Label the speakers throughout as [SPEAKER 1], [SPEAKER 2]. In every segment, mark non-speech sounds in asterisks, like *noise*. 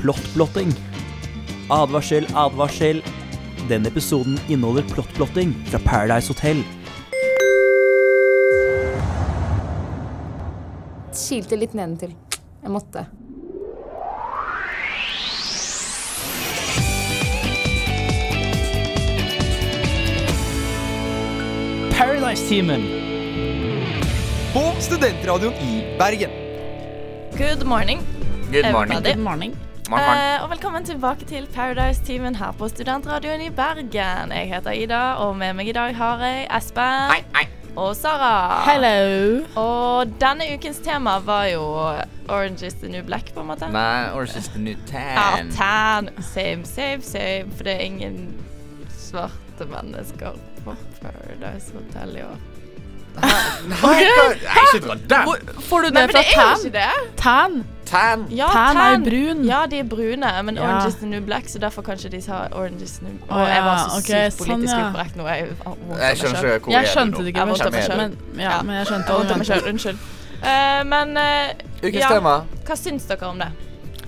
[SPEAKER 1] plottblotting. Advarsel, advarsel. Denne episoden inneholder plottblotting fra Paradise Hotel.
[SPEAKER 2] Kilte litt nedentil. Jeg måtte.
[SPEAKER 1] Paradise-teamen!
[SPEAKER 3] på Studentradioen i Bergen.
[SPEAKER 4] Good morning.
[SPEAKER 5] Good morning.
[SPEAKER 4] everybody.
[SPEAKER 5] Morgen, morgen.
[SPEAKER 4] Eh, og velkommen tilbake til Paradise-teamen her på Studentradioen i Bergen. Jeg heter Ida, og med meg i dag har jeg Espen
[SPEAKER 5] Hei, hei.
[SPEAKER 4] og Sara.
[SPEAKER 6] Hello.
[SPEAKER 4] Og denne ukens tema var jo Orange is the new black, på en måte.
[SPEAKER 5] Nei, Orange is the new
[SPEAKER 4] Ja,
[SPEAKER 5] tan.
[SPEAKER 4] tan. Same, same, same. For det er ingen svarte mennesker på Paradise Hotel i år.
[SPEAKER 5] Nei, hva- Nei, ikke dra den.
[SPEAKER 6] Får du
[SPEAKER 4] Nei,
[SPEAKER 6] det
[SPEAKER 4] men
[SPEAKER 6] fra
[SPEAKER 4] det er jo
[SPEAKER 6] tan?
[SPEAKER 4] ikke det.
[SPEAKER 6] Tan?
[SPEAKER 5] Tan.
[SPEAKER 4] Ja,
[SPEAKER 6] Tan er jo brun.
[SPEAKER 4] Ja, de er brune, men
[SPEAKER 6] Ja.
[SPEAKER 4] orange is the new black, så derfor kanskje de sa orange is the new
[SPEAKER 6] Å
[SPEAKER 4] Å, jeg var
[SPEAKER 6] ja,
[SPEAKER 4] så
[SPEAKER 6] ok,
[SPEAKER 4] sykt
[SPEAKER 6] sånn,
[SPEAKER 4] politisk
[SPEAKER 6] ja.
[SPEAKER 4] ukorrekt nå. Jeg, jeg,
[SPEAKER 5] Jeg skjønner ikke hvor
[SPEAKER 6] Jeg
[SPEAKER 5] er du
[SPEAKER 6] skjønte
[SPEAKER 5] nå?
[SPEAKER 6] det
[SPEAKER 4] Jeg
[SPEAKER 6] ikke, men,
[SPEAKER 4] måtte meg selv.
[SPEAKER 6] men, ja,
[SPEAKER 4] Ja.
[SPEAKER 6] men jeg skjønte
[SPEAKER 4] vondt av meg
[SPEAKER 6] det.
[SPEAKER 4] selv, Unnskyld. Eh, men eh,
[SPEAKER 5] Ukens
[SPEAKER 4] ja,
[SPEAKER 5] tema.
[SPEAKER 4] hva syns dere om det?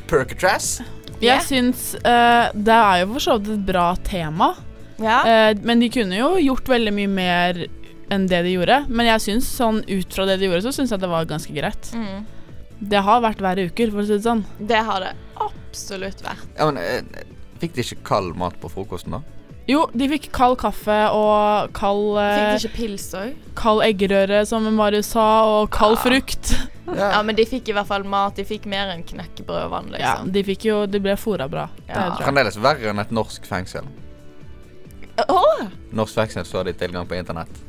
[SPEAKER 5] Percatras.
[SPEAKER 4] Ja.
[SPEAKER 6] Jeg syns eh, det er jo for så vidt et bra tema,
[SPEAKER 4] Ja.
[SPEAKER 6] eh, men de kunne jo gjort veldig mye mer enn det de gjorde. Men jeg syns sånn ut fra det de gjorde, så syns jeg det var ganske greit.
[SPEAKER 4] Mm.
[SPEAKER 6] Det har vært verre uker, for å si det sånn.
[SPEAKER 4] Det har det absolutt vært.
[SPEAKER 5] Ja, men eh, fikk de ikke kald mat på frokosten, da?
[SPEAKER 6] Jo, de fikk kald kaffe og kald,
[SPEAKER 4] Fikk de
[SPEAKER 6] eh,
[SPEAKER 4] ikke pils òg?
[SPEAKER 6] kald eggerøre, som Marius sa, og kald frukt.
[SPEAKER 4] Ja, men de fikk i hvert fall mat. De fikk mer enn knekkebrød og vann,
[SPEAKER 6] Ja,
[SPEAKER 4] liksom.
[SPEAKER 6] de fikk jo De ble fôra bra. Det
[SPEAKER 4] Ja.
[SPEAKER 6] tror jeg.
[SPEAKER 5] Fremdeles verre enn et norsk fengsel.
[SPEAKER 4] Åh!
[SPEAKER 5] Norsk fengsel så har de tilgang på internett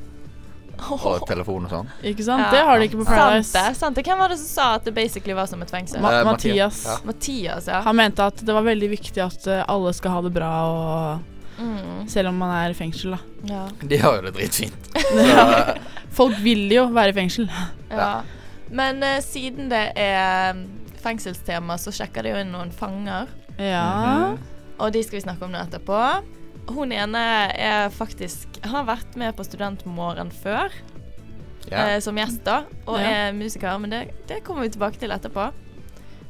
[SPEAKER 5] og telefon og sånn.
[SPEAKER 6] Ikke sant?
[SPEAKER 4] Ja.
[SPEAKER 6] Det har de ikke på
[SPEAKER 4] Sant
[SPEAKER 6] Paradise.
[SPEAKER 4] det. sant det. Hvem var det som sa at det basically var som et fengsel?
[SPEAKER 6] Ma
[SPEAKER 5] Eh,
[SPEAKER 6] Mathias.
[SPEAKER 5] Ja.
[SPEAKER 4] Mathias, ja.
[SPEAKER 6] Han mente at det var veldig viktig at eh, alle skal ha det bra, og
[SPEAKER 4] Mm.
[SPEAKER 6] selv om man er i fengsel, da.
[SPEAKER 4] ja.
[SPEAKER 5] De har jo det dritfint. Så,
[SPEAKER 6] Folk vil jo være i fengsel. *laughs*
[SPEAKER 4] Ja. Men eh, siden det er mm, fengselstema, så sjekker de jo inn noen fanger.
[SPEAKER 6] Ja.
[SPEAKER 4] Og de skal vi snakke om nå etterpå. Hun ene er faktisk har vært med på Studentmorgen før
[SPEAKER 5] ja.
[SPEAKER 4] eh, som gjest, da. Og
[SPEAKER 6] Ja.
[SPEAKER 4] er musiker, men det, det kommer vi tilbake til etterpå.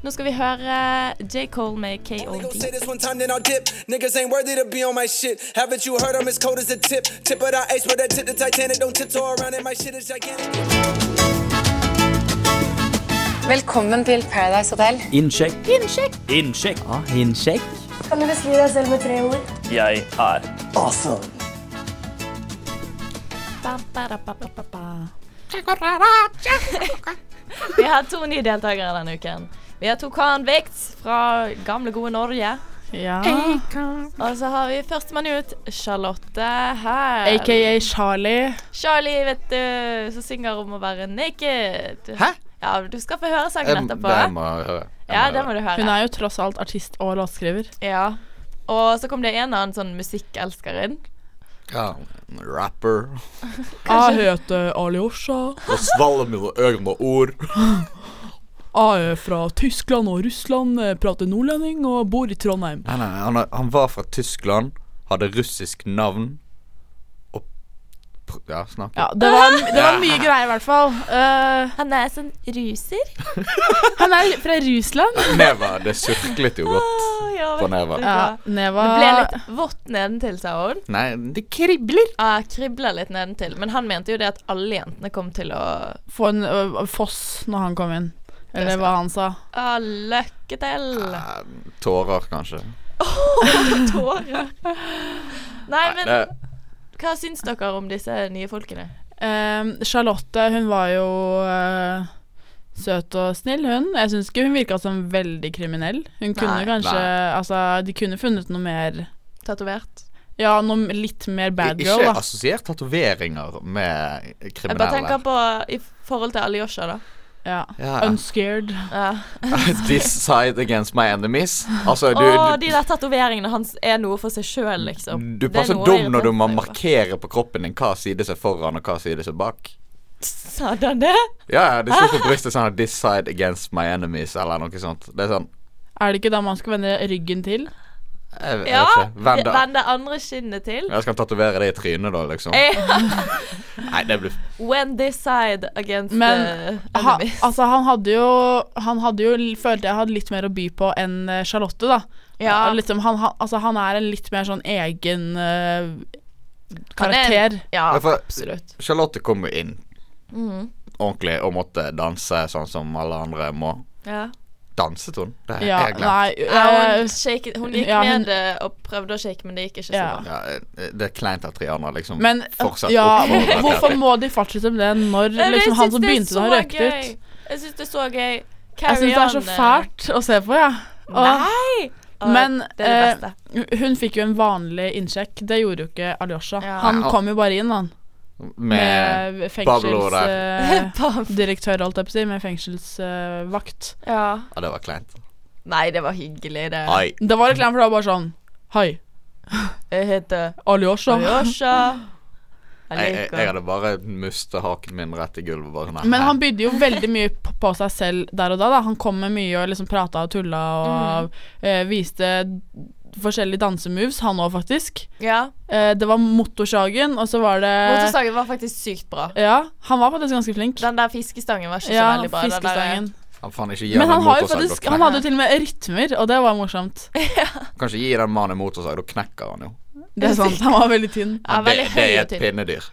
[SPEAKER 4] Nå skal vi høre eh, J. Cole med
[SPEAKER 7] Only gon' say
[SPEAKER 4] KOD.
[SPEAKER 7] this one time, then I'll dip. Niggas ain't worthy to be on my shit. Haven't you heard I'm as cold as a tip? Tip of the ace, but that tip the Titanic. Don't tiptoe around it. My shit is gigantic.
[SPEAKER 8] Velkommen til Paradise Hotel.
[SPEAKER 1] Innsjekk. Innsjekk. Innsjekk. Ja, innsjekk.
[SPEAKER 9] Kan du beskrive deg selv med tre ord?
[SPEAKER 10] Jeg er
[SPEAKER 4] Ba, ba, da, ba, ba, ba, ba. Vi har to nye deltakere denne uken. Vi har to convicts fra gamle, gode Norge.
[SPEAKER 6] ja.
[SPEAKER 4] Og så har vi førstemann ut, Charlotte her.
[SPEAKER 6] AKA Charlie.
[SPEAKER 4] Charlie, vet du, som synger om å være naked.
[SPEAKER 5] Hæ?
[SPEAKER 4] Ja, du skal få høre
[SPEAKER 5] Jeg,
[SPEAKER 4] sangen
[SPEAKER 5] det
[SPEAKER 4] etterpå.
[SPEAKER 5] må jeg høre. Jeg
[SPEAKER 4] Ja,
[SPEAKER 5] må
[SPEAKER 4] det må
[SPEAKER 5] høre.
[SPEAKER 4] du høre.
[SPEAKER 6] Hun er jo tross alt artist og låtskriver.
[SPEAKER 4] Ja. Og så kom det en annen sånn musikkelskeren.
[SPEAKER 5] Ja. Rapper.
[SPEAKER 6] Jeg heter Alyosha.
[SPEAKER 5] Og svelger mine egne ord.
[SPEAKER 6] Jeg er fra Tyskland og Russland, jeg prater nordlending og bor i Trondheim.
[SPEAKER 5] Nei, nei, nei, han, han var fra Tyskland, hadde russisk navn og pr Ja, snakk.
[SPEAKER 6] Ja, det var, det var mye greier, i hvert fall. Eh,
[SPEAKER 4] Han er sånn ruser.
[SPEAKER 6] han er fra Russland.
[SPEAKER 5] Neva, det surklet jo godt.
[SPEAKER 4] *laughs* ja,
[SPEAKER 5] *laughs* På
[SPEAKER 4] vet
[SPEAKER 5] neva.
[SPEAKER 4] du
[SPEAKER 6] Ja,
[SPEAKER 4] hva.
[SPEAKER 6] Neva
[SPEAKER 4] Det ble litt vått nedentil, sa hun.
[SPEAKER 5] Nei, det kribler.
[SPEAKER 4] Ja, kribla litt nedentil. Men han mente jo det at alle jentene kom til å
[SPEAKER 6] få en ø, foss når han kom inn. Eller hva han sa.
[SPEAKER 4] ah, Lykke til!
[SPEAKER 5] *laughs* Eh, Tårer, kanskje.
[SPEAKER 4] Tårer. Nei, men
[SPEAKER 5] det,
[SPEAKER 4] hva syns dere om disse nye folkene?
[SPEAKER 6] Ehm, Charlotte, hun var jo eh, søt og snill, hun. Jeg syns ikke hun virka som veldig kriminell. Hun kunne
[SPEAKER 4] Nei,
[SPEAKER 6] kanskje Altså, de kunne funnet noe mer
[SPEAKER 4] Tatovert?
[SPEAKER 6] Ja, noe litt mer bad
[SPEAKER 5] ikke altså.
[SPEAKER 6] girl, da.
[SPEAKER 5] assosier tatoveringer med
[SPEAKER 4] Jeg bare
[SPEAKER 5] kriminelle.
[SPEAKER 4] tenker på i forhold til Alyosha, da.
[SPEAKER 6] Ja.
[SPEAKER 5] Ja.
[SPEAKER 6] Unscared.
[SPEAKER 4] Ja.
[SPEAKER 5] *laughs* This side against my enemies. Altså, du,
[SPEAKER 4] Å,
[SPEAKER 5] du,
[SPEAKER 4] de der tatoveringene hans er noe for seg sjøl, liksom.
[SPEAKER 5] du
[SPEAKER 4] Det er
[SPEAKER 5] passer
[SPEAKER 4] noe
[SPEAKER 5] dum når du må
[SPEAKER 4] irriterende seg over.
[SPEAKER 5] markere på kroppen din hva side som er foran, og hva side som er bak.
[SPEAKER 4] Sa han det?
[SPEAKER 5] Ja, ja, det står på brystet sånn This side against my enemies, eller noe sånt. Det er sånn
[SPEAKER 6] Er det ikke da man skal vende ryggen til?
[SPEAKER 5] Jeg, jeg
[SPEAKER 4] Ja!
[SPEAKER 5] vet ikke. Venn det-
[SPEAKER 4] Vend det andre kinnet til.
[SPEAKER 5] Jeg skal tatovere det i trynet, da, liksom.
[SPEAKER 6] Eh.
[SPEAKER 5] Nei, det blir
[SPEAKER 4] When this side against
[SPEAKER 6] Men
[SPEAKER 4] the
[SPEAKER 6] ha,
[SPEAKER 4] enemies.
[SPEAKER 6] altså, han hadde jo Han hadde jo følte jeg hadde litt mer å by på enn eh, Charlotte, da.
[SPEAKER 4] Ja.
[SPEAKER 6] Og Liksom, han, han, altså, han er en litt mer sånn egen eh,
[SPEAKER 4] Han er-
[SPEAKER 6] karakter.
[SPEAKER 4] Ja,
[SPEAKER 5] Ja, for-
[SPEAKER 4] absolutt.
[SPEAKER 5] Charlotte kom jo inn
[SPEAKER 6] Mhm.
[SPEAKER 5] ordentlig og måtte danse sånn som alle andre må.
[SPEAKER 4] Ja.
[SPEAKER 5] Danset hun? Det har
[SPEAKER 6] Ja,
[SPEAKER 5] jeg glemt.
[SPEAKER 6] nei
[SPEAKER 4] Ja,
[SPEAKER 6] eh,
[SPEAKER 4] hun, shaket, hun gikk
[SPEAKER 6] ja, hun-
[SPEAKER 4] med det og prøvde å shake, men det gikk ikke så
[SPEAKER 6] Ja.
[SPEAKER 4] bra.
[SPEAKER 5] Ja, eh, det er kleint at Rihanna liksom
[SPEAKER 6] Men
[SPEAKER 5] fortsatt
[SPEAKER 6] ja,
[SPEAKER 5] oppfordrer til
[SPEAKER 6] hvorfor
[SPEAKER 5] det.
[SPEAKER 6] må de fortsette med det når
[SPEAKER 4] Men jeg
[SPEAKER 6] liksom,
[SPEAKER 4] syns
[SPEAKER 6] han som
[SPEAKER 4] det er
[SPEAKER 6] begynte det, har
[SPEAKER 4] så
[SPEAKER 6] røket
[SPEAKER 4] gøy.
[SPEAKER 6] ut?
[SPEAKER 4] Jeg syns det er så gøy.
[SPEAKER 6] Jeg syns det er så
[SPEAKER 4] Carry on, eh.
[SPEAKER 6] fælt å se på, ja. Og,
[SPEAKER 4] Nei! Åh,
[SPEAKER 6] Men
[SPEAKER 4] det er det beste.
[SPEAKER 6] eh, hun fikk jo en vanlig innsjekk. Det gjorde jo ikke Alyosha.
[SPEAKER 4] Ja.
[SPEAKER 6] Han
[SPEAKER 5] Nei, og-
[SPEAKER 6] kom jo bare inn, han.
[SPEAKER 5] Med
[SPEAKER 6] Med
[SPEAKER 5] Pablo der.
[SPEAKER 6] eh.
[SPEAKER 4] *laughs* Pablo.
[SPEAKER 6] fengselsdirektør, holdt jeg på å si. Med fengselsvakt.
[SPEAKER 4] ja.
[SPEAKER 5] Ja, det var kleint.
[SPEAKER 4] Nei, det var hyggelig, det.
[SPEAKER 5] Ai.
[SPEAKER 6] det var litt kleint, for det var bare sånn Hei,
[SPEAKER 4] Jeg heter
[SPEAKER 6] Alyosha.
[SPEAKER 4] Ayosha.
[SPEAKER 5] Jeg, jeg, jeg hadde bare musta haken min rett i gulvet. Bare, sånn, nei,
[SPEAKER 6] Men han bydde jo veldig mye p- på seg selv der og da. da. Han kom med mye og liksom prata og tulla og
[SPEAKER 4] Mhm.
[SPEAKER 6] eh, viste forskjellige dansemoves, han òg, faktisk.
[SPEAKER 4] Ja.
[SPEAKER 6] Eh, det var motorsagen, og så var det
[SPEAKER 4] Motorsagen var faktisk sykt bra.
[SPEAKER 6] Ja, han var faktisk ganske flink.
[SPEAKER 4] Den der fiskestangen var ikke så
[SPEAKER 6] ja,
[SPEAKER 4] veldig bra. den der- eh,
[SPEAKER 6] fiskestangen.
[SPEAKER 5] han faen ikke gi
[SPEAKER 6] Men
[SPEAKER 5] han
[SPEAKER 6] han,
[SPEAKER 5] en
[SPEAKER 6] har jo
[SPEAKER 5] motorsag,
[SPEAKER 6] faktisk,
[SPEAKER 5] da
[SPEAKER 6] han
[SPEAKER 5] knekker
[SPEAKER 6] hadde jo til og med rytmer, og det var morsomt.
[SPEAKER 5] Kanskje gi den mannen en motorsag, da knekker han jo.
[SPEAKER 6] Det er sant, han var veldig tynn.
[SPEAKER 4] Ja,
[SPEAKER 5] det,
[SPEAKER 4] veldig
[SPEAKER 5] det
[SPEAKER 4] høy
[SPEAKER 5] er
[SPEAKER 4] og
[SPEAKER 5] et
[SPEAKER 4] tynn.
[SPEAKER 5] pinnedyr.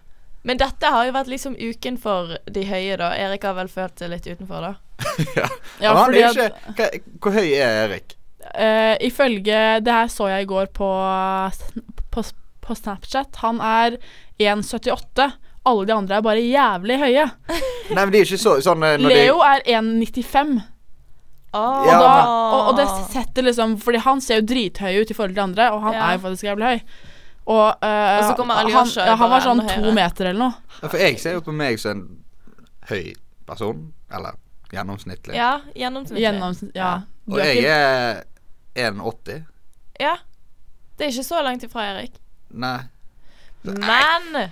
[SPEAKER 4] Men dette har jo vært liksom uken for de høye, da. Erik har vel følt seg litt utenfor, da.
[SPEAKER 6] *laughs* Ja,
[SPEAKER 5] Men han er
[SPEAKER 6] fordi
[SPEAKER 5] jo
[SPEAKER 6] at,
[SPEAKER 5] ikke hva, Hvor høy er Erik?
[SPEAKER 6] eh, ifølge Det her så jeg i går på, på, på Snapchat. Han er 1,78. Alle de andre er bare jævlig høye.
[SPEAKER 5] Nei, men de er ikke så sånn eh, når
[SPEAKER 6] Leo er 1,95.
[SPEAKER 4] Oh,
[SPEAKER 5] Ja,
[SPEAKER 6] Da- Og, og det setter liksom Fordi han ser jo drithøy ut i forhold til de andre, og han
[SPEAKER 4] Ja.
[SPEAKER 6] er jo faktisk jævlig høy. Og, eh,
[SPEAKER 4] Og så kommer
[SPEAKER 6] han,
[SPEAKER 4] Alyosha
[SPEAKER 6] ja, han var
[SPEAKER 4] bare
[SPEAKER 6] sånn
[SPEAKER 4] enda
[SPEAKER 6] to
[SPEAKER 4] høyere.
[SPEAKER 6] meter eller noe.
[SPEAKER 5] de, ja, For jeg ser jo på meg som en høy person. Eller gjennomsnittlig.
[SPEAKER 4] Ja, gjennomsnittlig.
[SPEAKER 6] Gjennoms... Ja. Du
[SPEAKER 5] Og
[SPEAKER 6] er
[SPEAKER 5] jeg
[SPEAKER 6] ikke,
[SPEAKER 5] er 1,80.
[SPEAKER 4] Ja. Det er ikke så langt ifra, Erik.
[SPEAKER 5] Nei.
[SPEAKER 4] Men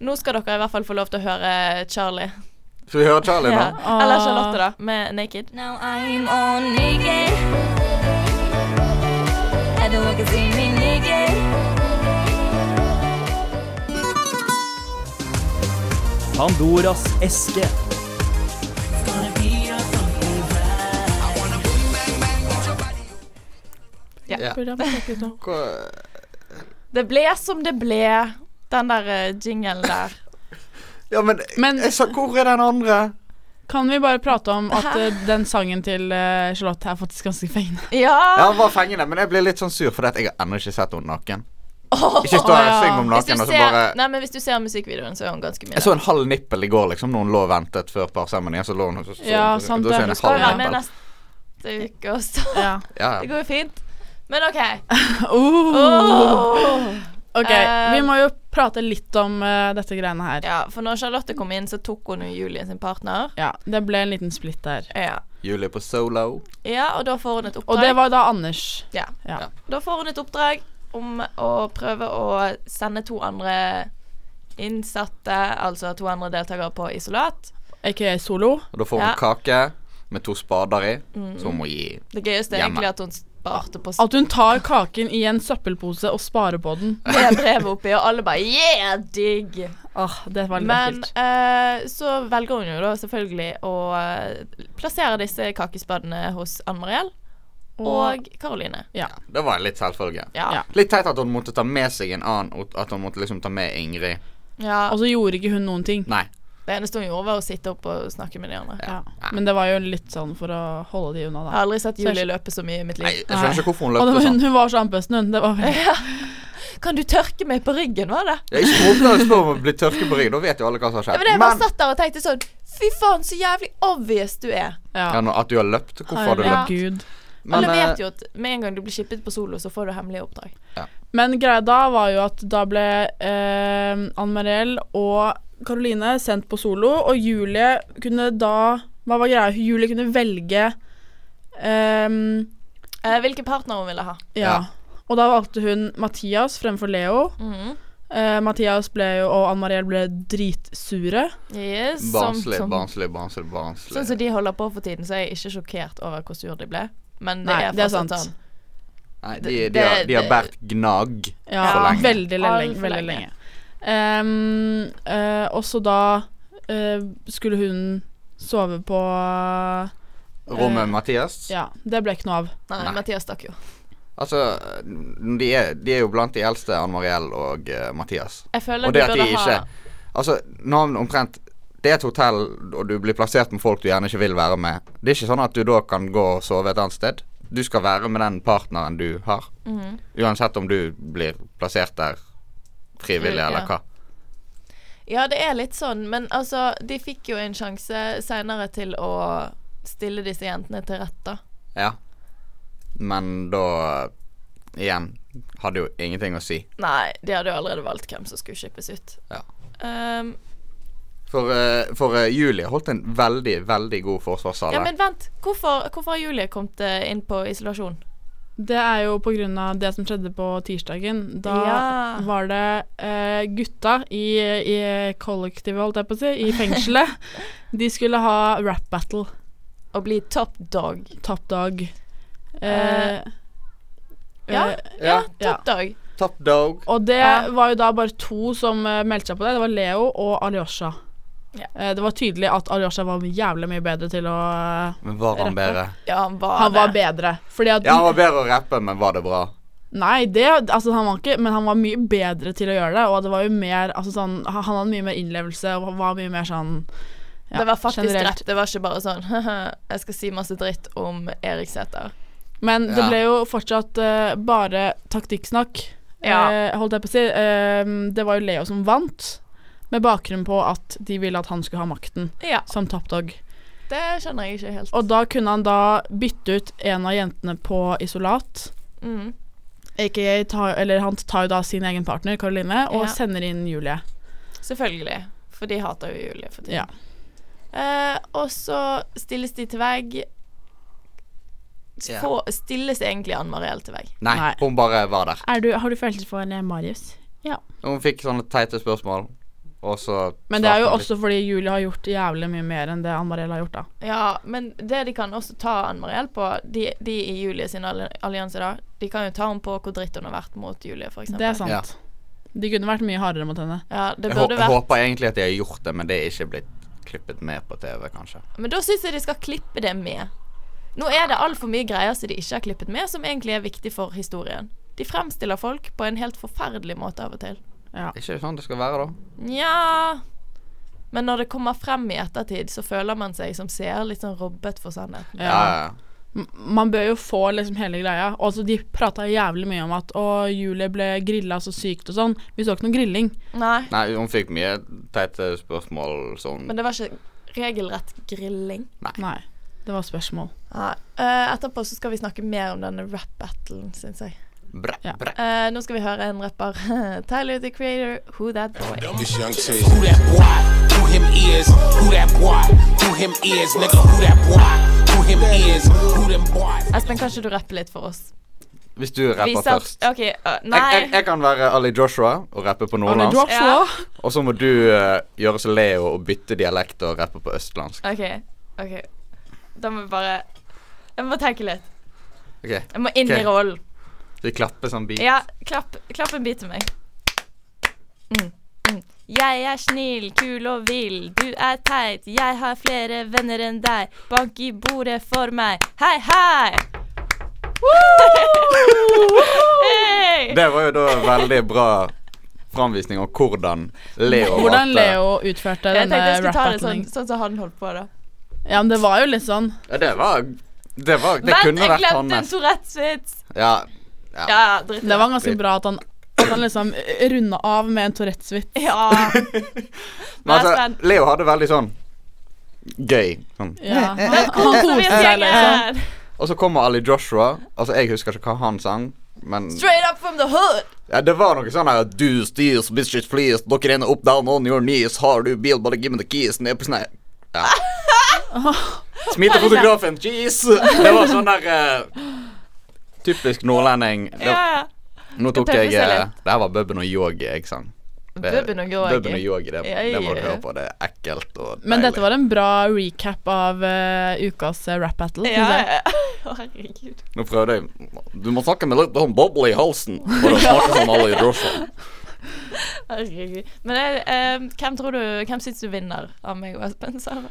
[SPEAKER 4] nå skal dere i hvert fall få lov til å høre Charlie.
[SPEAKER 5] Skal vi høre Charlie
[SPEAKER 4] Ja.
[SPEAKER 5] nå?
[SPEAKER 4] Eller Charlotte, da, med Naked.
[SPEAKER 10] Now I'm all naked. Everyone can see me naked.
[SPEAKER 1] Pandoras eske.
[SPEAKER 5] Ja. Hva-
[SPEAKER 4] Det ble som det ble, den der eh, jinglen der.
[SPEAKER 5] Ja, men,
[SPEAKER 6] Men-
[SPEAKER 5] jeg sa, Hvor er den andre?
[SPEAKER 6] kan vi bare prate om at eh, den sangen til eh, Charlotte er faktisk
[SPEAKER 4] *laughs*
[SPEAKER 6] ganske fengende?
[SPEAKER 5] Ja,
[SPEAKER 4] *laughs* Ja!
[SPEAKER 5] han var fengende, men jeg ble litt sånn sur, for at jeg har ennå ikke sett henne naken. Ikke stå her og
[SPEAKER 6] ja.
[SPEAKER 5] synge om
[SPEAKER 4] Hvis du,
[SPEAKER 5] naken, og så
[SPEAKER 4] ser,
[SPEAKER 5] bare
[SPEAKER 4] nei, men hvis du ser musikkvideoen, så er hun ganske mye
[SPEAKER 5] Jeg så en halv nippel i går, liksom, når hun lå og ventet før parseremonien. Så lå hun og så, så,
[SPEAKER 6] Ja, sant
[SPEAKER 5] da så jeg
[SPEAKER 6] det. Du
[SPEAKER 5] en
[SPEAKER 6] skal
[SPEAKER 5] halv
[SPEAKER 4] der. Være med
[SPEAKER 5] nippel.
[SPEAKER 4] neste uke også.
[SPEAKER 6] *laughs*
[SPEAKER 5] Ja,
[SPEAKER 4] Det
[SPEAKER 5] ja.
[SPEAKER 4] går jo fint. Men
[SPEAKER 5] *laughs*
[SPEAKER 4] OK.
[SPEAKER 6] Oh.
[SPEAKER 4] Åh.
[SPEAKER 6] Ok,
[SPEAKER 4] Eh,
[SPEAKER 6] vi må jo prate litt om eh, dette greiene her. Ja.
[SPEAKER 4] Ja, for når Charlotte kom inn, så tok hun jo Julie sin partner.
[SPEAKER 6] det ble en liten splitt der.
[SPEAKER 4] Ja.
[SPEAKER 5] Julie på solo.
[SPEAKER 4] ja, og da får hun et
[SPEAKER 6] Og
[SPEAKER 4] oppdrag.
[SPEAKER 6] det var da Anders.
[SPEAKER 4] ja.
[SPEAKER 6] Ja.
[SPEAKER 4] Da får hun et oppdrag om å prøve å sende to andre innsatte, altså to andre deltakere, på isolat.
[SPEAKER 6] Aka solo.
[SPEAKER 5] Og da får hun
[SPEAKER 4] Ja.
[SPEAKER 5] kake med to spader i,
[SPEAKER 6] Mm.
[SPEAKER 5] som hun må gi.
[SPEAKER 4] Det gøyeste er
[SPEAKER 5] Hjemme.
[SPEAKER 4] egentlig at hun sparte på
[SPEAKER 6] At hun tar kaken i en søppelpose og sparer på den.
[SPEAKER 4] *laughs* med brevet oppi, og alle bare Yeah, digg!
[SPEAKER 6] Åh, det var litt
[SPEAKER 4] Men
[SPEAKER 6] ekkelt.
[SPEAKER 4] eh, så velger hun jo da selvfølgelig å eh, plassere disse kakespadene hos Ann Mariell og Karoline.
[SPEAKER 6] Ja.
[SPEAKER 5] Det var litt selvfølge.
[SPEAKER 4] Ja.
[SPEAKER 6] Ja.
[SPEAKER 5] Litt teit at hun måtte ta med seg en annen, og at hun måtte liksom ta med Ingrid.
[SPEAKER 4] ja.
[SPEAKER 6] Og så gjorde ikke hun noen ting.
[SPEAKER 5] Nei.
[SPEAKER 4] Det eneste hun gjorde, var å sitte opp og snakke med de andre.
[SPEAKER 6] Ja. Men det var jo litt sånn for å holde de unna,
[SPEAKER 4] Jeg har
[SPEAKER 6] da.
[SPEAKER 4] aldri sett Julie løpe så mye i mitt
[SPEAKER 5] Nei,
[SPEAKER 4] liv.
[SPEAKER 5] jeg skjønner ikke hvorfor hun
[SPEAKER 6] Og det
[SPEAKER 5] løpte
[SPEAKER 6] var, hun,
[SPEAKER 5] sånn.
[SPEAKER 6] hun var så andpusten, hun. Det var
[SPEAKER 4] *laughs*
[SPEAKER 6] veldig
[SPEAKER 4] Kan du tørke meg på ryggen, var det?
[SPEAKER 5] Jeg ikke håpet hun spør om å bli tørket på ryggen, da vet jo alle hva som har
[SPEAKER 4] Ja,
[SPEAKER 5] skjedd.
[SPEAKER 4] men jeg bare satt der og tenkte sånn Fy faen, så jævlig obvious du er.
[SPEAKER 5] ja,
[SPEAKER 6] Ja.
[SPEAKER 5] nå- at du har løpt, hvorfor har du løpt?
[SPEAKER 6] Herregud.
[SPEAKER 5] Men,
[SPEAKER 4] Alle
[SPEAKER 5] eh,
[SPEAKER 4] vet jo at med en gang du blir shippet på solo, så får du hemmelige oppdrag.
[SPEAKER 6] Men greia da var jo at da ble eh, Ann Mariell og Karoline sendt på solo, og Julie kunne da Hva var greia? Julie kunne velge eh,
[SPEAKER 4] Eh, hvilken partner hun ville ha.
[SPEAKER 6] ja. Og da valgte hun Mathias fremfor Leo.
[SPEAKER 4] Mm.
[SPEAKER 6] Eh, Mathias ble jo, og Ann Mariell ble dritsure.
[SPEAKER 4] Yes, som-
[SPEAKER 5] Barnslig,
[SPEAKER 4] som-
[SPEAKER 5] barnslig, barnslig, barnslig.
[SPEAKER 4] Sånn som de holder på for tiden, så er jeg ikke sjokkert over hvor sur de ble. Men det
[SPEAKER 6] Nei,
[SPEAKER 4] er
[SPEAKER 6] det er
[SPEAKER 4] fortsatt
[SPEAKER 6] sant.
[SPEAKER 4] sånn
[SPEAKER 5] Nei, de,
[SPEAKER 4] Det-
[SPEAKER 5] de, har,
[SPEAKER 4] det-
[SPEAKER 5] de har båret gnag.
[SPEAKER 6] Ja,
[SPEAKER 5] For lenge.
[SPEAKER 6] veldig lenge.
[SPEAKER 4] Alt for
[SPEAKER 6] veldig
[SPEAKER 4] lenge.
[SPEAKER 6] lenge. Ehm, eh, og så da eh, skulle hun sove på
[SPEAKER 5] Rommet
[SPEAKER 6] Eh,
[SPEAKER 5] Mathias.
[SPEAKER 6] Ja, det ble ikke noe av.
[SPEAKER 4] Nei,
[SPEAKER 5] Nei.
[SPEAKER 4] Mathias stakk jo.
[SPEAKER 5] Altså, de er, de er jo blant de eldste, Ann Mariell og eh, Mathias.
[SPEAKER 4] Jeg føler
[SPEAKER 5] Og det
[SPEAKER 4] de
[SPEAKER 5] at de
[SPEAKER 4] burde
[SPEAKER 5] ikke
[SPEAKER 4] ha
[SPEAKER 5] Altså, navn omtrent Det er et hotell, og du blir plassert med folk du gjerne ikke vil være med. Det er ikke sånn at du da kan gå og sove et annet sted. Du skal være med den partneren du har.
[SPEAKER 4] Mhm.
[SPEAKER 5] Uansett om du blir plassert der frivillig
[SPEAKER 4] Frivillig,
[SPEAKER 5] eller
[SPEAKER 4] ja.
[SPEAKER 5] hva.
[SPEAKER 4] Ja, det er litt sånn, men altså, de fikk jo en sjanse seinere til å stille disse jentene til rett, da.
[SPEAKER 5] Ja. Men da Igjen hadde jo ingenting å si.
[SPEAKER 4] Nei, de hadde jo allerede valgt hvem som skulle shippes ut.
[SPEAKER 5] Ja.
[SPEAKER 4] Ehm,
[SPEAKER 5] For, eh, for eh, Julie holdt en veldig, veldig god forsvarssale.
[SPEAKER 4] ja, men vent. Hvorfor, hvorfor har Julie kommet eh, inn på isolasjon?
[SPEAKER 6] Det er jo på grunn av det som skjedde på tirsdagen. Da
[SPEAKER 4] Ja.
[SPEAKER 6] var det eh, gutta i, i kollektivet, holdt jeg på å si,
[SPEAKER 4] *laughs*
[SPEAKER 6] i fengselet. de skulle ha rap battle,
[SPEAKER 4] Å bli top dog.
[SPEAKER 6] top dog.
[SPEAKER 4] Eh, ja.
[SPEAKER 6] eh,
[SPEAKER 4] Ja,
[SPEAKER 6] Ja.
[SPEAKER 4] top dog.
[SPEAKER 5] Top dog.
[SPEAKER 6] Og det
[SPEAKER 4] Ja.
[SPEAKER 6] var jo da bare to som eh, meldte seg på det. Det var Leo og Alyosha.
[SPEAKER 4] Ja.
[SPEAKER 6] Eh, det var tydelig at Alyosha var jævlig mye bedre til å eh,
[SPEAKER 5] Men var han bedre?
[SPEAKER 4] Ja, han var
[SPEAKER 6] Han var
[SPEAKER 4] det.
[SPEAKER 6] bedre. Fordi at
[SPEAKER 5] Ja, han var bedre å rappe, men var det bra?
[SPEAKER 6] Nei, det, altså han var ikke Men han var mye bedre til å gjøre det, og det var jo mer altså sånn, Han han hadde mye mer innlevelse og var mye mer sånn ja,
[SPEAKER 4] det var faktisk
[SPEAKER 6] generelt.
[SPEAKER 4] rett. Det var ikke bare sånn *laughs* Jeg skal si masse dritt om Eriksæter.
[SPEAKER 6] Men det
[SPEAKER 5] Ja.
[SPEAKER 6] ble jo fortsatt eh, bare taktikksnakk,
[SPEAKER 4] Ja.
[SPEAKER 6] eh, holdt jeg på å si. Eh, det var jo Leo som vant, med bakgrunn på at de ville at han skulle ha makten
[SPEAKER 4] Ja,
[SPEAKER 6] som toppdog.
[SPEAKER 4] det skjønner jeg ikke helt.
[SPEAKER 6] Og da kunne han da bytte ut en av jentene på isolat.
[SPEAKER 4] Mm.
[SPEAKER 6] AKA ta, eller han tar jo da sin egen partner, Karoline,
[SPEAKER 4] Ja.
[SPEAKER 6] og sender inn Julie.
[SPEAKER 4] Selvfølgelig. For de hater jo Julie for tiden.
[SPEAKER 6] Ja.
[SPEAKER 4] Eh, og så stilles de til vegg.
[SPEAKER 5] Ja.
[SPEAKER 4] Få, stilles egentlig Ann Mariell til vegg.
[SPEAKER 5] Nei,
[SPEAKER 6] Nei.
[SPEAKER 5] hun bare var der.
[SPEAKER 6] Er du, har du følelser for eh, Marius? Ja.
[SPEAKER 5] Hun fikk sånne teite spørsmål, og så
[SPEAKER 6] Men det
[SPEAKER 5] svarte
[SPEAKER 6] er jo
[SPEAKER 5] hun litt.
[SPEAKER 6] også fordi Julie har gjort jævlig mye mer enn det Ann-Mariell har gjort, da.
[SPEAKER 4] Ja, men det de kan også ta Ann Mariell på, de, de i Julie sin alli- allianse da, de kan jo ta henne på hvor dritt hun har vært mot Julie, for eksempel.
[SPEAKER 6] Det er sant. De kunne vært mye hardere mot henne.
[SPEAKER 4] Ja, det
[SPEAKER 5] Jeg
[SPEAKER 4] burde
[SPEAKER 5] hå-
[SPEAKER 4] vært.
[SPEAKER 5] håper egentlig at de har gjort det, men det er ikke blitt klippet med på TV, kanskje.
[SPEAKER 4] Men da syns jeg de skal klippe det med. Nå er det altfor mye greier som de ikke har klippet med, som egentlig er viktig for historien. De fremstiller folk på en helt forferdelig måte av og til.
[SPEAKER 5] Ikke sånn det skal være, da.
[SPEAKER 4] Nja Men når det kommer frem i ettertid, så føler man seg som seer litt sånn robbet for sannheten.
[SPEAKER 5] Ja, ja, ja.
[SPEAKER 6] M- Man bør jo få liksom hele greia. Og altså, de prata jævlig mye om at å, Julie ble grilla så sykt og sånn. Vi så ikke noe grilling.
[SPEAKER 4] Nei,
[SPEAKER 5] Nei, hun fikk mye teite spørsmål sånn som
[SPEAKER 4] men det var ikke regelrett grilling.
[SPEAKER 6] Nei. Det var spørsmål.
[SPEAKER 4] Nei. Eh, etterpå så skal vi snakke mer om denne rap-battlen, syns jeg.
[SPEAKER 5] Bra,
[SPEAKER 6] Ja.
[SPEAKER 5] bra.
[SPEAKER 4] Eh, nå skal vi høre en rapper. *laughs* Tyler the Creator, Who That Boy.
[SPEAKER 7] It's Young T. Who that boy? Who him is? Who that boy? Who him is? Nigga, who that boy? Who him is? Who them boy?
[SPEAKER 4] Espen, kan ikke du rappe litt for oss?
[SPEAKER 5] Hvis du
[SPEAKER 4] Vi
[SPEAKER 5] rapper
[SPEAKER 4] satt-
[SPEAKER 5] først.
[SPEAKER 4] OK. eh,
[SPEAKER 5] Jeg, jeg,
[SPEAKER 4] nei.
[SPEAKER 5] jeg kan være Ali Joshua og rappe på nordlandsk.
[SPEAKER 6] Joshua.
[SPEAKER 5] Og så må du eh, gjøre som Leo og bytte dialekt og rappe på østlandsk.
[SPEAKER 4] OK. ok Da må vi bare Jeg må tenke litt.
[SPEAKER 5] Ok,
[SPEAKER 4] Jeg må inn
[SPEAKER 5] Ok.
[SPEAKER 4] i rollen.
[SPEAKER 5] Vi klapper sånn beat.
[SPEAKER 4] Ja, klapp, klapp en bit til meg. Mm, mm. Jeg er snill, kul og vill. Du er teit. Jeg har flere venner enn deg. Bank i bordet for meg. Hei, hei! *laughs* Hey!
[SPEAKER 5] Det var jo da veldig bra framvisning av hvordan Leo
[SPEAKER 6] Hvordan
[SPEAKER 5] valgte-
[SPEAKER 6] Leo utførte
[SPEAKER 4] Jeg
[SPEAKER 6] denne
[SPEAKER 4] tenkte jeg skulle ta det sånn,
[SPEAKER 6] rap-battling.
[SPEAKER 4] sånn som han holdt på, da.
[SPEAKER 6] Ja, men det var jo litt sånn.
[SPEAKER 5] Ja, det var Det, var, det
[SPEAKER 4] Vent,
[SPEAKER 5] kunne
[SPEAKER 4] jeg
[SPEAKER 5] vært
[SPEAKER 4] glemte en
[SPEAKER 5] hans.
[SPEAKER 4] Tourettes-vits!
[SPEAKER 5] Ja,
[SPEAKER 4] Ja, ja, dritt i
[SPEAKER 6] Det var ganske
[SPEAKER 5] Vi-
[SPEAKER 6] bra at han, at han liksom runda av med en Tourettes-vits.
[SPEAKER 4] Ja.
[SPEAKER 5] men
[SPEAKER 4] Espen.
[SPEAKER 5] altså, Leo hadde veldig sånn gøy. Sånn.
[SPEAKER 6] Ja. Han, han
[SPEAKER 4] Koser vi
[SPEAKER 6] koste
[SPEAKER 4] oss,
[SPEAKER 6] seg, liksom.
[SPEAKER 4] gjengen?
[SPEAKER 5] Og så kommer Ali Joshua. Altså, Jeg husker ikke hva han sang, men
[SPEAKER 4] Straight up from the hood!
[SPEAKER 5] ja, det var noe sånn her Du styrs, bitches flees, dere renner opp down on your knees, har du bil, bare give me the keys, ned på snø
[SPEAKER 4] *laughs*
[SPEAKER 5] ja. Smilte fotografen, jeez! Det var sånn der eh, Typisk nordlending. Det,
[SPEAKER 4] Ja, ja.
[SPEAKER 5] nå tok
[SPEAKER 4] Det
[SPEAKER 5] jeg
[SPEAKER 4] tøffer seg
[SPEAKER 5] eh, Det her var Bubben og Yogi jeg sang.
[SPEAKER 4] Bubben og yogi.
[SPEAKER 5] Bubben og yogi, det,
[SPEAKER 4] Ja,
[SPEAKER 5] det må du
[SPEAKER 4] ja.
[SPEAKER 5] høre på. Det er ekkelt og
[SPEAKER 6] Men dette
[SPEAKER 5] deilig.
[SPEAKER 6] var en bra recap av eh, ukas eh, rap battle.
[SPEAKER 4] *laughs*
[SPEAKER 6] synes
[SPEAKER 4] Ja,
[SPEAKER 6] jeg.
[SPEAKER 4] ja. *laughs* Å, herregud.
[SPEAKER 5] Nå prøvde jeg Du må snakke med litt sånn boble i halsen for å snakke som alle i drosjen.
[SPEAKER 4] herregud. Men eh, eh, hvem tror du Hvem syns du vinner av meg og Espen? Sara?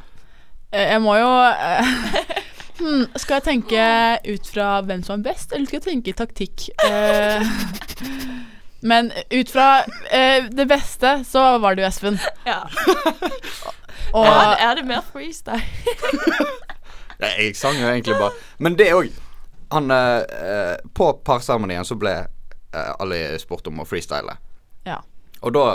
[SPEAKER 6] Eh, Jeg må jo eh, *laughs* hmm, Skal jeg tenke ut fra hvem som er best, eller skal jeg tenke taktikk? Eh, *laughs* men ut fra eh, det beste, så var det jo Espen.
[SPEAKER 4] Ja.
[SPEAKER 6] Og
[SPEAKER 4] Jeg hadde- jeg hadde mer freestyle.
[SPEAKER 5] Nei, Jeg sang jo egentlig bare Men det òg Han eh, eh, På parseremonien så ble eh, alle spurt om å freestyle.
[SPEAKER 6] ja.
[SPEAKER 5] Og da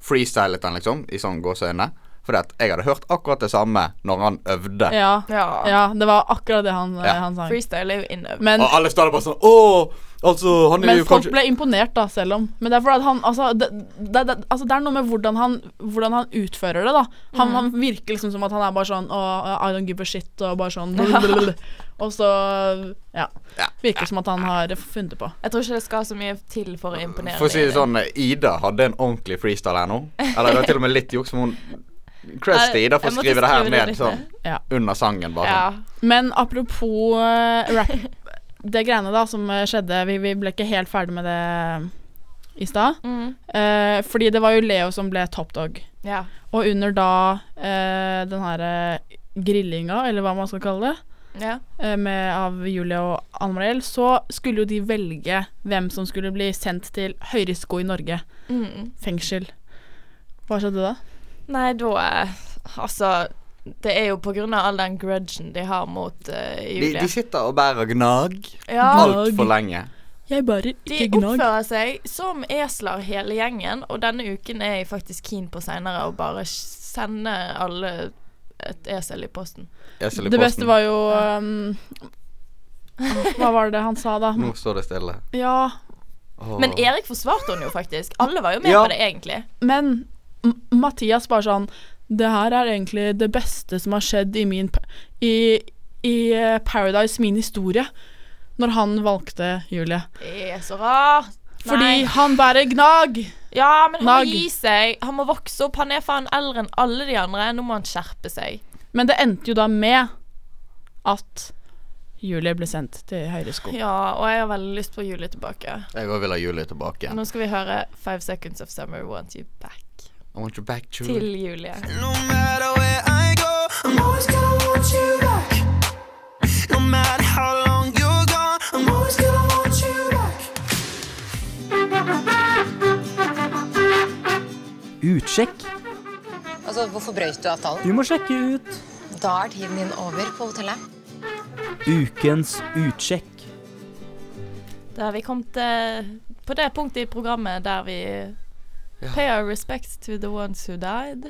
[SPEAKER 5] freestylet han liksom, i sånn gåseøyne. Fordi at jeg hadde hørt akkurat det samme når han øvde.
[SPEAKER 6] Ja,
[SPEAKER 4] Ja.
[SPEAKER 6] ja, det var akkurat det han, eh,
[SPEAKER 5] Ja.
[SPEAKER 6] han sang.
[SPEAKER 4] Freestyle er jo inne.
[SPEAKER 6] Men,
[SPEAKER 5] Og alle står der bare sånn Å, altså, han er
[SPEAKER 6] men
[SPEAKER 5] jo
[SPEAKER 6] folk
[SPEAKER 5] kanskje
[SPEAKER 6] ble imponert, da, selv om. Men det er fordi at han altså det, det, det, altså det er noe med hvordan han, hvordan han utfører det, da. Han, han virker liksom som at han er bare sånn «Å, I don't give a shit, og bare sånn blablabla. Og så ja.
[SPEAKER 5] Ja.
[SPEAKER 6] Virker som at han har funnet det på.
[SPEAKER 4] Jeg tror ikke det skal så mye til for å imponere.
[SPEAKER 5] For å si det
[SPEAKER 4] deg.
[SPEAKER 5] sånn, Ida hadde en ordentlig freestyle her nå. Eller det var til og med litt juks, men hun Creds til Ida for å
[SPEAKER 4] Jeg måtte
[SPEAKER 5] skrive det her
[SPEAKER 4] skrive det
[SPEAKER 5] ned
[SPEAKER 4] litt
[SPEAKER 5] sånn
[SPEAKER 6] Ja.
[SPEAKER 5] under sangen, bare
[SPEAKER 4] Ja.
[SPEAKER 5] sånn.
[SPEAKER 6] Men apropos eh, rap Det greiene da som eh, skjedde Vi, vi ble ikke helt ferdig med det i stad.
[SPEAKER 4] Mm.
[SPEAKER 6] Eh, fordi det var jo Leo som ble top dog.
[SPEAKER 4] ja.
[SPEAKER 6] Og under da eh, den her eh, grillinga, eller hva man skal kalle det,
[SPEAKER 4] ja.
[SPEAKER 6] eh, med, av Julie og Anne Mariell, så skulle jo de velge hvem som skulle bli sendt til høyrisiko i Norge.
[SPEAKER 4] Mm.
[SPEAKER 6] Fengsel. Hva skjedde da?
[SPEAKER 4] Nei, da eh, Altså, det er jo på grunn av all den grudgen de har mot eh,
[SPEAKER 5] De,
[SPEAKER 4] Julie.
[SPEAKER 5] de sitter og bærer gnag
[SPEAKER 4] ja,
[SPEAKER 5] altfor lenge.
[SPEAKER 6] Jeg bare
[SPEAKER 4] de
[SPEAKER 6] ikke gnag.
[SPEAKER 4] oppfører seg som esler hele gjengen, og denne uken er jeg faktisk keen på seinere å bare sende alle et esel i posten.
[SPEAKER 5] Esel i
[SPEAKER 6] Det beste
[SPEAKER 5] posten.
[SPEAKER 6] var jo um, Hva var det han sa da?
[SPEAKER 5] Nå står det stille.
[SPEAKER 6] Ja,
[SPEAKER 5] Åh.
[SPEAKER 4] Men Erik forsvarte henne jo faktisk. Alle var jo med
[SPEAKER 5] Ja.
[SPEAKER 4] på det, egentlig.
[SPEAKER 6] men M- Mathias bare sånn Det her er egentlig det beste som har skjedd i min pa- I, i eh, Paradise, min historie. Når han valgte Julie.
[SPEAKER 4] Det er så rart.
[SPEAKER 6] Fordi han bærer gnag!
[SPEAKER 4] Ja, men han
[SPEAKER 6] Nag.
[SPEAKER 4] må gi seg. Han må vokse opp. Han er faen eldre enn alle de andre. Nå må han skjerpe seg.
[SPEAKER 6] Men det endte jo da med at Julie ble sendt til høyresko.
[SPEAKER 4] Ja, og jeg har veldig lyst på Julie tilbake.
[SPEAKER 5] Jeg òg vil ha Julie tilbake igjen.
[SPEAKER 4] Nå skal vi høre Five Seconds of Summer Want You Back
[SPEAKER 5] I want you back,
[SPEAKER 4] til
[SPEAKER 5] Julie.
[SPEAKER 4] Julie.
[SPEAKER 7] No matter where I go, I'm always gonna want you back. No matter how long you're gone, I'm always gonna want you back.
[SPEAKER 1] Utsjekk.
[SPEAKER 8] Altså, Hvorfor brøyt du avtalen?
[SPEAKER 1] Du må sjekke ut
[SPEAKER 8] Da er tiden din over på hotellet.
[SPEAKER 1] ukens utsjekk.
[SPEAKER 4] Da har vi kommet eh, på det punktet i programmet der vi pay our respects to the ones who died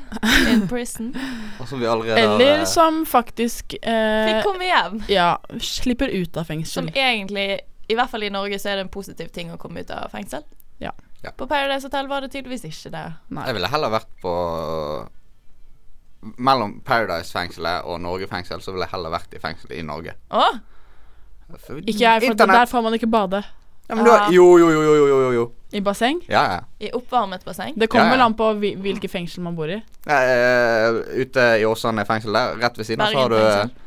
[SPEAKER 4] in prison.
[SPEAKER 5] Og som vi allerede har,
[SPEAKER 6] Eller
[SPEAKER 5] eh,
[SPEAKER 6] som faktisk
[SPEAKER 4] Fikk
[SPEAKER 6] eh,
[SPEAKER 4] komme hjem.
[SPEAKER 6] ja, slipper ut av
[SPEAKER 4] Som
[SPEAKER 6] fengsel.
[SPEAKER 4] egentlig, i hvert fall i Norge, så er det en positiv ting å komme ut av fengsel.
[SPEAKER 6] Ja.
[SPEAKER 5] Ja.
[SPEAKER 4] På Paradise Hotel var det tydeligvis ikke det.
[SPEAKER 5] Jeg ville heller vært på Mellom Paradise-fengselet og Norge-fengsel, så ville jeg heller vært i fengselet i Norge.
[SPEAKER 4] Å,
[SPEAKER 6] Ikke jeg, for
[SPEAKER 5] Internett.
[SPEAKER 6] der får man ikke bade.
[SPEAKER 5] Ja, men du har, jo, jo, jo, jo, jo, jo, jo.
[SPEAKER 6] I basseng.
[SPEAKER 5] Ja, ja.
[SPEAKER 4] i oppvarmet basseng.
[SPEAKER 6] Det kommer
[SPEAKER 5] Ja, ja.
[SPEAKER 6] vel an på hvil- hvilke fengsel man bor i.
[SPEAKER 5] Eh, ute i Åsane fengsel der, rett ved siden av, så har du
[SPEAKER 4] Bergen
[SPEAKER 5] eh,
[SPEAKER 4] fengsel.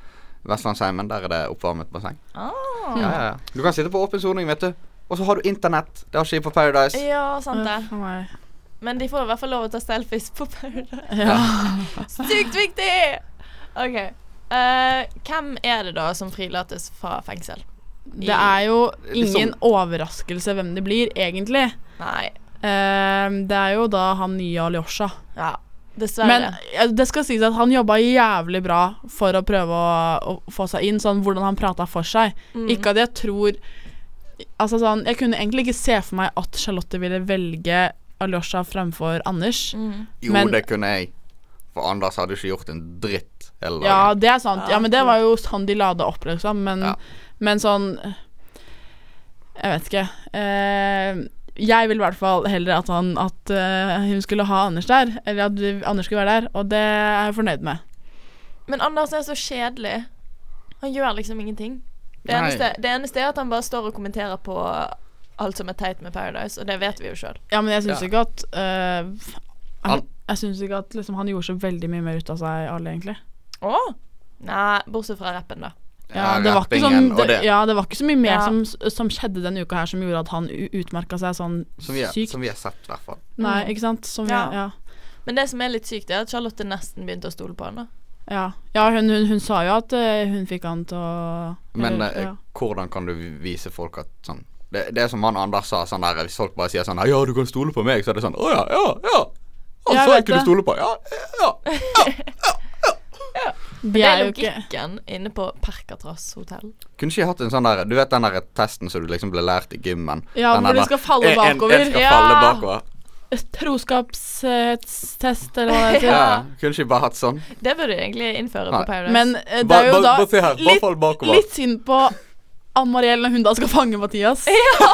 [SPEAKER 5] Vestlandsheimen. Der er det oppvarmet basseng.
[SPEAKER 4] Ah.
[SPEAKER 5] Ja, ja, ja. Du kan sitte på åpen soning, vet du. Og så har du internett. Det har ikke de på Paradise.
[SPEAKER 4] Ja, sant det.
[SPEAKER 6] Uff a meg.
[SPEAKER 4] Men de får i hvert fall lov å ta selfies på
[SPEAKER 6] *laughs*
[SPEAKER 4] Paradise.
[SPEAKER 6] Ja.
[SPEAKER 4] Sykt viktig! OK. eh, hvem er det da som frilates fra fengsel?
[SPEAKER 6] Det er jo
[SPEAKER 5] Liksom-
[SPEAKER 6] ingen overraskelse hvem det blir, egentlig.
[SPEAKER 4] Nei.
[SPEAKER 6] Ehm, det er jo da han nye Alyosha.
[SPEAKER 4] Ja, dessverre.
[SPEAKER 6] Men eh, det skal sies at han jobba jævlig bra for å prøve å, å få seg inn, sånn hvordan han prata for seg. Ikke at jeg tror Altså sånn, Jeg kunne egentlig ikke se for meg at Charlotte ville velge Alyosha fremfor Anders.
[SPEAKER 5] Jo,
[SPEAKER 6] men-
[SPEAKER 5] det kunne jeg. For Anders hadde ikke gjort en dritt hele dagen.
[SPEAKER 6] Ja, det er sant. Ja, men det var jo sånn de la det opp, liksom. Men,
[SPEAKER 5] Ja.
[SPEAKER 6] men sånn Jeg vet ikke. Eh, jeg vil i hvert fall heller at, han, at eh, hun skulle ha Anders der. Eller at vi- Anders skulle være der, og det er jeg fornøyd med.
[SPEAKER 4] Men Anders er så kjedelig. Han gjør liksom ingenting. Det
[SPEAKER 5] Nei.
[SPEAKER 4] eneste, det eneste er at han bare står og kommenterer på alt som er teit med Paradise, og det vet vi jo sjøl.
[SPEAKER 6] Ja, men jeg syns
[SPEAKER 5] Ja.
[SPEAKER 6] ikke at eh, f- jeg,
[SPEAKER 5] Han-
[SPEAKER 6] jeg synes ikke at liksom, han gjorde så veldig mye mer ut av seg, alle, egentlig.
[SPEAKER 4] Å? Nei, bortsett fra rappen, da.
[SPEAKER 6] Ja,
[SPEAKER 5] Ja,
[SPEAKER 6] det, var ikke sånn,
[SPEAKER 5] rappingen og
[SPEAKER 6] det,
[SPEAKER 5] det.
[SPEAKER 6] ja, det var ikke så mye mer
[SPEAKER 4] Ja.
[SPEAKER 6] som, som skjedde denne uka her som gjorde at han u- utmerka seg sånn
[SPEAKER 5] Som vi, har-
[SPEAKER 6] sykt.
[SPEAKER 5] som vi har sett, i hvert fall.
[SPEAKER 6] Nei, ikke sant? Som
[SPEAKER 4] Ja.
[SPEAKER 6] Vi, Mm. ja.
[SPEAKER 4] Men det som er litt sykt, er at Charlotte nesten begynte å stole på han. da
[SPEAKER 6] Ja, ja hun, hun, hun sa jo at eh, hun fikk han til å
[SPEAKER 5] Men
[SPEAKER 6] eller,
[SPEAKER 5] eh,
[SPEAKER 6] ja.
[SPEAKER 5] hvordan kan du vise folk at sånn det, det er som han Anders sa, sånn der, hvis folk bare sier sånn Ja, du kan stole på meg, så er det sånn Å ja, ja, ja. Han sa
[SPEAKER 6] Jeg vet
[SPEAKER 5] ikke du
[SPEAKER 6] det.
[SPEAKER 5] stole på. Ja, ja.
[SPEAKER 6] De
[SPEAKER 4] Det
[SPEAKER 6] er
[SPEAKER 4] er
[SPEAKER 6] jo ikke
[SPEAKER 4] logikken inne på Perkatras hotell.
[SPEAKER 5] Kunne ikke jeg hatt en sånn der Du vet den der testen som du liksom ble lært i gymmen?
[SPEAKER 6] Ja,
[SPEAKER 5] den
[SPEAKER 6] hvor
[SPEAKER 5] der-
[SPEAKER 6] de skal falle
[SPEAKER 5] en- en-
[SPEAKER 6] bakover.
[SPEAKER 5] En skal
[SPEAKER 6] Ja.
[SPEAKER 5] falle bakover.
[SPEAKER 6] Troskapstest, eller *laughs* hva det heter.
[SPEAKER 5] Ja.
[SPEAKER 4] Ja.
[SPEAKER 5] Kunne ikke jeg bare hatt sånn?
[SPEAKER 4] Det burde de egentlig innføre
[SPEAKER 5] Nei.
[SPEAKER 4] på Paradise.
[SPEAKER 6] Men eh, det
[SPEAKER 5] Bare-
[SPEAKER 6] er jo
[SPEAKER 5] bare-
[SPEAKER 6] da
[SPEAKER 5] bare se her, bare fall
[SPEAKER 6] litt,
[SPEAKER 5] bakover.
[SPEAKER 6] litt synd på Ann Mariell når hun da skal fange Mathias.
[SPEAKER 4] ja,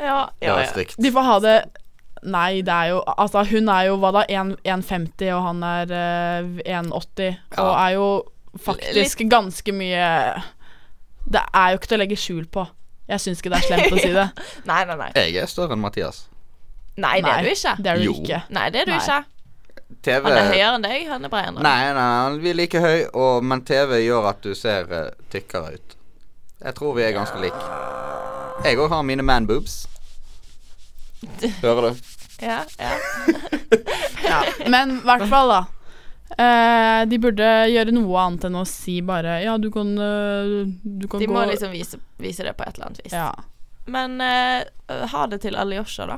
[SPEAKER 4] ja,
[SPEAKER 5] det
[SPEAKER 4] ja.
[SPEAKER 5] var stygt.
[SPEAKER 6] De får ha det Nei, det er jo Altså, hun er jo hva da, 1 1,50, og han er eh, 1,80, og
[SPEAKER 5] Ja.
[SPEAKER 6] er jo faktisk ganske mye Det er jo ikke til å legge skjul på. Jeg syns ikke det er slemt å si
[SPEAKER 5] *laughs*
[SPEAKER 6] det.
[SPEAKER 4] Nei, nei, nei.
[SPEAKER 5] Jeg er større enn Mathias.
[SPEAKER 4] Nei, det er du ikke.
[SPEAKER 6] Det er du
[SPEAKER 5] Jo.
[SPEAKER 6] ikke.
[SPEAKER 4] Nei, det er du
[SPEAKER 6] Nei.
[SPEAKER 4] ikke.
[SPEAKER 5] TV
[SPEAKER 4] Han er høyere enn deg, han er bredere enn deg.
[SPEAKER 5] Nei, nei, vi er like høy, og, men TV gjør at du ser eh, tykkere ut. Jeg tror vi er ganske like. Jeg òg har mine man boobs. Hører du?
[SPEAKER 4] Ja, ja.
[SPEAKER 6] Men i hvert fall, da. Eh, de burde gjøre noe annet enn å si bare Ja, du kan, eh, du kan
[SPEAKER 4] De
[SPEAKER 6] gå
[SPEAKER 4] må liksom vise, vise det på et eller annet vis.
[SPEAKER 6] ja.
[SPEAKER 4] Men eh, ha det til Alyosha, da.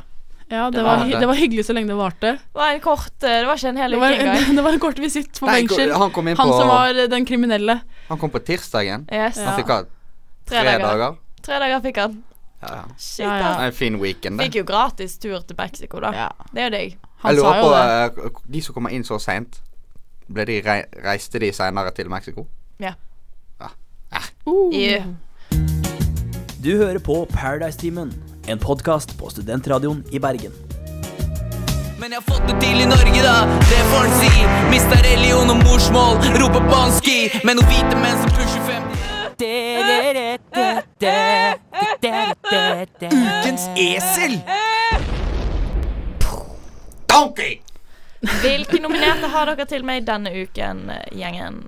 [SPEAKER 6] ja, det
[SPEAKER 5] Ja,
[SPEAKER 6] var,
[SPEAKER 5] det.
[SPEAKER 6] hy- det var hyggelig så lenge det varte.
[SPEAKER 4] Det var en kort eh, Det var ikke en hel
[SPEAKER 6] Det
[SPEAKER 4] uke
[SPEAKER 6] var, *laughs*
[SPEAKER 4] engang.
[SPEAKER 6] det var en kort visitt på
[SPEAKER 5] Nei,
[SPEAKER 6] fengsel.
[SPEAKER 5] han kom inn
[SPEAKER 6] Han
[SPEAKER 5] på-
[SPEAKER 6] som var eh, den kriminelle.
[SPEAKER 5] Han kom på tirsdagen.
[SPEAKER 4] Yes.
[SPEAKER 5] Han fikk ha tre
[SPEAKER 4] Tre dager.
[SPEAKER 5] dager.
[SPEAKER 4] Tre dager fikk han.
[SPEAKER 5] Ja, ja.
[SPEAKER 4] Shit,
[SPEAKER 6] Ja, ja.
[SPEAKER 4] ass.
[SPEAKER 5] En fin weekend. det.
[SPEAKER 4] Fikk jo gratis tur til Mexico, da.
[SPEAKER 6] Ja.
[SPEAKER 4] Det er jo deg.
[SPEAKER 6] Han
[SPEAKER 5] jeg
[SPEAKER 6] sa
[SPEAKER 5] lurer
[SPEAKER 6] jo
[SPEAKER 5] på
[SPEAKER 6] det.
[SPEAKER 5] eh, k- De som kommer inn så seint, ble de rei reiste de seinere til Mexico?
[SPEAKER 4] Ja.
[SPEAKER 6] Uh.
[SPEAKER 4] Yeah.
[SPEAKER 1] Du hører på Paradise-timen, en podkast på Studentradioen i Bergen.
[SPEAKER 7] Men jeg har fått det til i Norge, da. Det får en si. Mista religion og morsmål. Roper banski. Men noen hvite menn som pusher 50 Ukens esel!
[SPEAKER 5] Donkey!
[SPEAKER 4] Hvilke nominerte har dere til meg denne uken, eh, gjengen?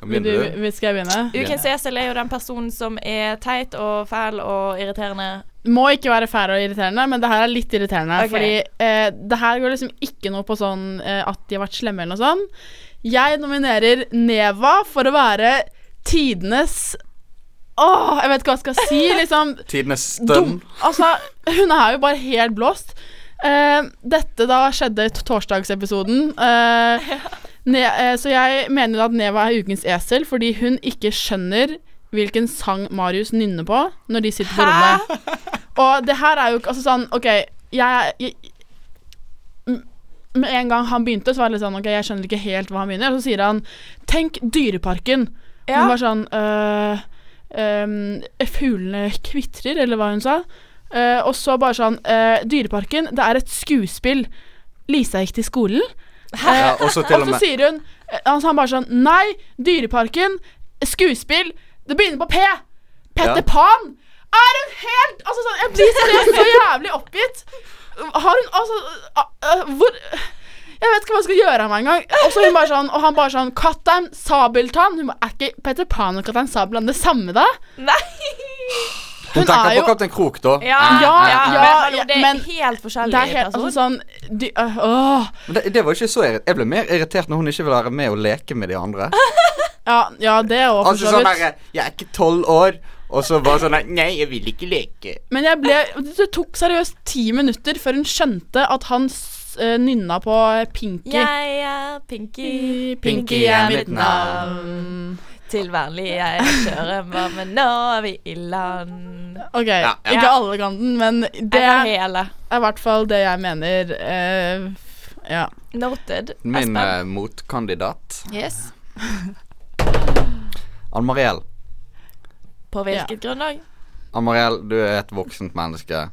[SPEAKER 5] Kan
[SPEAKER 6] Vil du,
[SPEAKER 5] begynne du?
[SPEAKER 6] vil- skal jeg begynne?
[SPEAKER 4] Ukens esel er jo den personen som er teit og fæl og irriterende.
[SPEAKER 6] Må ikke være fæl og irriterende, men det her er litt irriterende.
[SPEAKER 4] Ok.
[SPEAKER 6] Fordi eh, det her går liksom ikke noe på sånn eh, at de har vært slemme eller noe sånn. Jeg nominerer Neva for å være tidenes Åh, jeg vet ikke hva jeg skal si. Liksom
[SPEAKER 5] Tidenes stønn.
[SPEAKER 6] dum. Altså, hun er jo bare helt blåst. Eh, dette da skjedde i t- torsdagsepisoden. Eh, ne eh, så jeg mener at Neva er ukens esel fordi hun ikke skjønner hvilken sang Marius nynner på når de sitter på rommet. Og det her er jo ikke Altså sånn, OK, jeg, jeg m- Med en gang han begynte, så var det litt sånn OK, jeg skjønner ikke helt hva han begynner. Og så sier han Tenk Dyreparken.
[SPEAKER 4] Ja.
[SPEAKER 6] Hun var sånn øh, ehm, Fuglene kvitrer, eller hva hun sa. Eh, og så bare sånn øh, Dyreparken, det er et skuespill. Lisa gikk til skolen.
[SPEAKER 5] Ja, og så til
[SPEAKER 6] Eh, Og
[SPEAKER 5] og
[SPEAKER 6] så
[SPEAKER 5] med
[SPEAKER 6] sier hun eh, altså Han bare sånn Nei, Dyreparken, skuespill, det begynner på P. Petter
[SPEAKER 5] Ja.
[SPEAKER 6] Pan er en helt Altså sånn Jeg blir seriøst så jævlig oppgitt. Har hun Altså ah, ah, Hvor jeg vet ikke hva jeg skal gjøre av meg engang. Og så hun bare sånn, og han bare sånn Kaptein Sabeltann. Hun bare, Er ikke Petter Pan og Kaptein Sabeltann det samme, da?
[SPEAKER 4] Nei!
[SPEAKER 5] Hun
[SPEAKER 6] Hun er
[SPEAKER 5] tenker på
[SPEAKER 6] jo
[SPEAKER 5] Kaptein Krok, da.
[SPEAKER 4] Ja,
[SPEAKER 5] ah,
[SPEAKER 6] Ja, ja,
[SPEAKER 4] men hallo, det er
[SPEAKER 6] men-
[SPEAKER 4] helt forskjellig
[SPEAKER 6] Det er helt
[SPEAKER 4] person.
[SPEAKER 6] altså, sånn de, øh, åh.
[SPEAKER 5] Men det, det var ikke så irritert. Jeg ble mer irritert når hun ikke ville være med og leke med de
[SPEAKER 6] *laughs*
[SPEAKER 5] andre.
[SPEAKER 6] Ja, ja, det òg, for
[SPEAKER 5] Altså
[SPEAKER 6] så
[SPEAKER 5] sånn
[SPEAKER 6] vidt.
[SPEAKER 5] derre Jeg er ikke tolv år, og så bare sånn der, Nei, jeg vil ikke leke.
[SPEAKER 6] Men jeg ble, det tok seriøst ti minutter før hun skjønte at han s- eh, nynna på Pinky.
[SPEAKER 4] Jeg er Pinky.
[SPEAKER 5] Pinky er mitt navn.
[SPEAKER 4] Til vanlig jeg kjører hva, men nå er vi i land.
[SPEAKER 6] Ok,
[SPEAKER 5] ja.
[SPEAKER 6] ikke alle kan den, men det
[SPEAKER 4] Det er
[SPEAKER 6] er
[SPEAKER 4] hele.
[SPEAKER 6] i hvert fall det jeg mener. eh, ja.
[SPEAKER 4] Noted.
[SPEAKER 5] Min
[SPEAKER 4] Espen.
[SPEAKER 5] eh, motkandidat,
[SPEAKER 4] yes.
[SPEAKER 5] Ann Mariell.
[SPEAKER 4] På hvilket grunnlag?
[SPEAKER 5] Ann Mariell, du er et voksent menneske.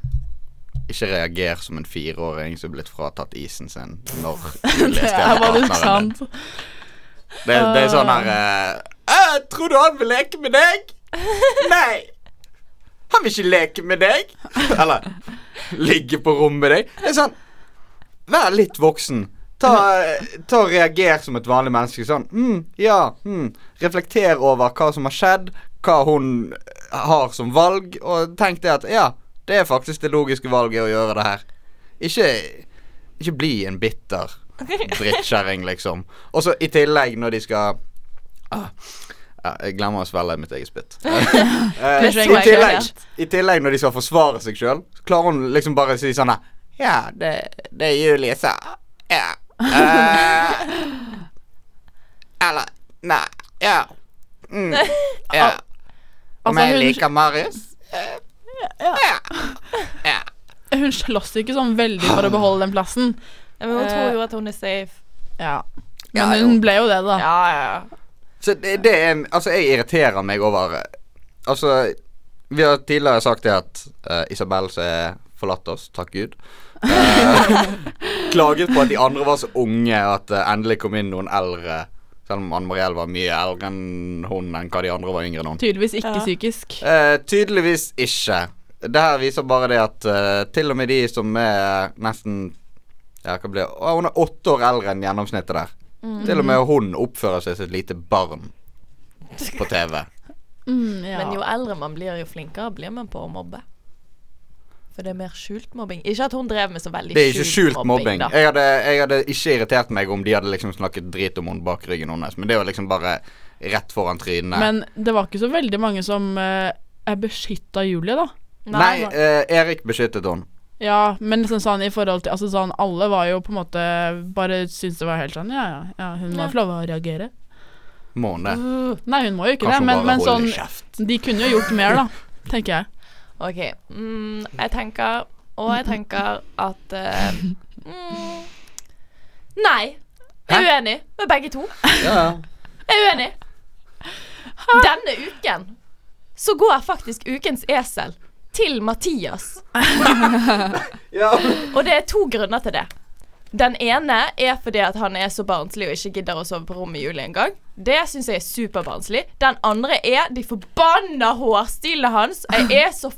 [SPEAKER 5] Ikke reager som en fireåring som er blitt fratatt isen sin når du
[SPEAKER 6] *laughs* Det
[SPEAKER 5] leste
[SPEAKER 6] er bare
[SPEAKER 5] partneren din.
[SPEAKER 6] sant.
[SPEAKER 5] Det, det er "Eh, sånn her eh, «Æ, Tror du han vil leke med deg? Nei. Han vil ikke leke med deg. Eller ligge på rommet med deg. Det er sånn Vær litt voksen. Ta, ta og Reager som et vanlig menneske. Sånn mm, Ja. Mm. Reflekter over hva som har skjedd, hva hun har som valg, og tenk det at Ja, det er faktisk det logiske valget å gjøre det her. Ikke, ikke bli en
[SPEAKER 6] *laughs*
[SPEAKER 5] bitter drittkjerring, liksom. Og så i tillegg, når de skal ah, ja, Jeg glemmer å svelge mitt eget
[SPEAKER 6] *laughs*
[SPEAKER 5] spytt. Eh,
[SPEAKER 4] Det er så
[SPEAKER 5] i, tillegg,
[SPEAKER 4] enkelt.
[SPEAKER 5] I tillegg, når de skal forsvare seg sjøl, klarer hun liksom bare å si sånn her, Ja, det, det Julie sa. Ja. Eh, eller Nei. Ja.
[SPEAKER 6] *laughs*
[SPEAKER 5] Mm. Ja. Om
[SPEAKER 6] Altså,
[SPEAKER 5] jeg
[SPEAKER 6] hun-
[SPEAKER 5] liker Marius?
[SPEAKER 6] Hun slåss ikke sånn veldig
[SPEAKER 5] Ah.
[SPEAKER 6] for å beholde den plassen.
[SPEAKER 4] Ja, Men hun tror jo at hun er safe.
[SPEAKER 6] Ja.
[SPEAKER 5] Ja,
[SPEAKER 6] Men
[SPEAKER 5] jo.
[SPEAKER 6] hun ble jo det, da.
[SPEAKER 4] Ja, ja, ja.
[SPEAKER 5] Så det, det er Altså, jeg irriterer meg over eh, Altså, vi har tidligere sagt det at eh, Isabel som har forlatt oss, takk Gud, eh, klaget på at de andre var så unge at det endelig kom inn noen eldre. Selv om Anne Mariell var mye eldre enn hun enn hva de andre var yngre enn hun.
[SPEAKER 6] Tydeligvis ikke
[SPEAKER 4] Ja.
[SPEAKER 6] psykisk.
[SPEAKER 5] Eh, tydeligvis ikke. Det her viser bare det at eh, til og med de som er nesten Ja, hva blir det? Å, Hun er åtte år eldre enn gjennomsnittet der. Til og med hun oppfører seg som et lite barn på TV.
[SPEAKER 6] Mm, ja.
[SPEAKER 4] Men jo eldre man blir, jo flinkere blir man på å mobbe. For det er mer skjult mobbing. Ikke at hun drev med så veldig
[SPEAKER 5] Det er ikke skjult mobbing. Eh,
[SPEAKER 4] da.
[SPEAKER 5] Jeg hadde, jeg hadde ikke irritert meg om de hadde liksom snakket drit om henne bak ryggen hennes, men det var liksom bare rett foran trynet.
[SPEAKER 6] Men det var ikke så veldig mange som eh, er beskytta av Julie, da.
[SPEAKER 5] nei, eh, Erik beskyttet henne.
[SPEAKER 6] Ja, men liksom sånn i forhold til Altså sånn, alle var jo på en måte Bare syntes det var helt sånn Ja, ja, ja hun må få lov å reagere.
[SPEAKER 5] Må hun det?
[SPEAKER 6] Uh, Nei, hun må jo ikke
[SPEAKER 5] Kanskje
[SPEAKER 6] det,
[SPEAKER 5] hun
[SPEAKER 6] men,
[SPEAKER 5] bare
[SPEAKER 6] men
[SPEAKER 5] holder
[SPEAKER 6] sånn
[SPEAKER 5] kjeft.
[SPEAKER 6] De kunne jo gjort mer, da, tenker jeg.
[SPEAKER 4] OK. Mm, jeg tenker Og jeg tenker at
[SPEAKER 5] *laughs*
[SPEAKER 4] eh, mm, Nei. Jeg er uenig med begge to.
[SPEAKER 5] Ja, ja.
[SPEAKER 4] Jeg er uenig. Denne uken så går faktisk ukens esel til Mathias. Og det er to grunner til det. Den ene er fordi at han er så barnslig og ikke gidder å sove på rommet i juli engang. Det syns jeg er superbarnslig. Den andre er de forbanna hårstilene hans. Jeg er så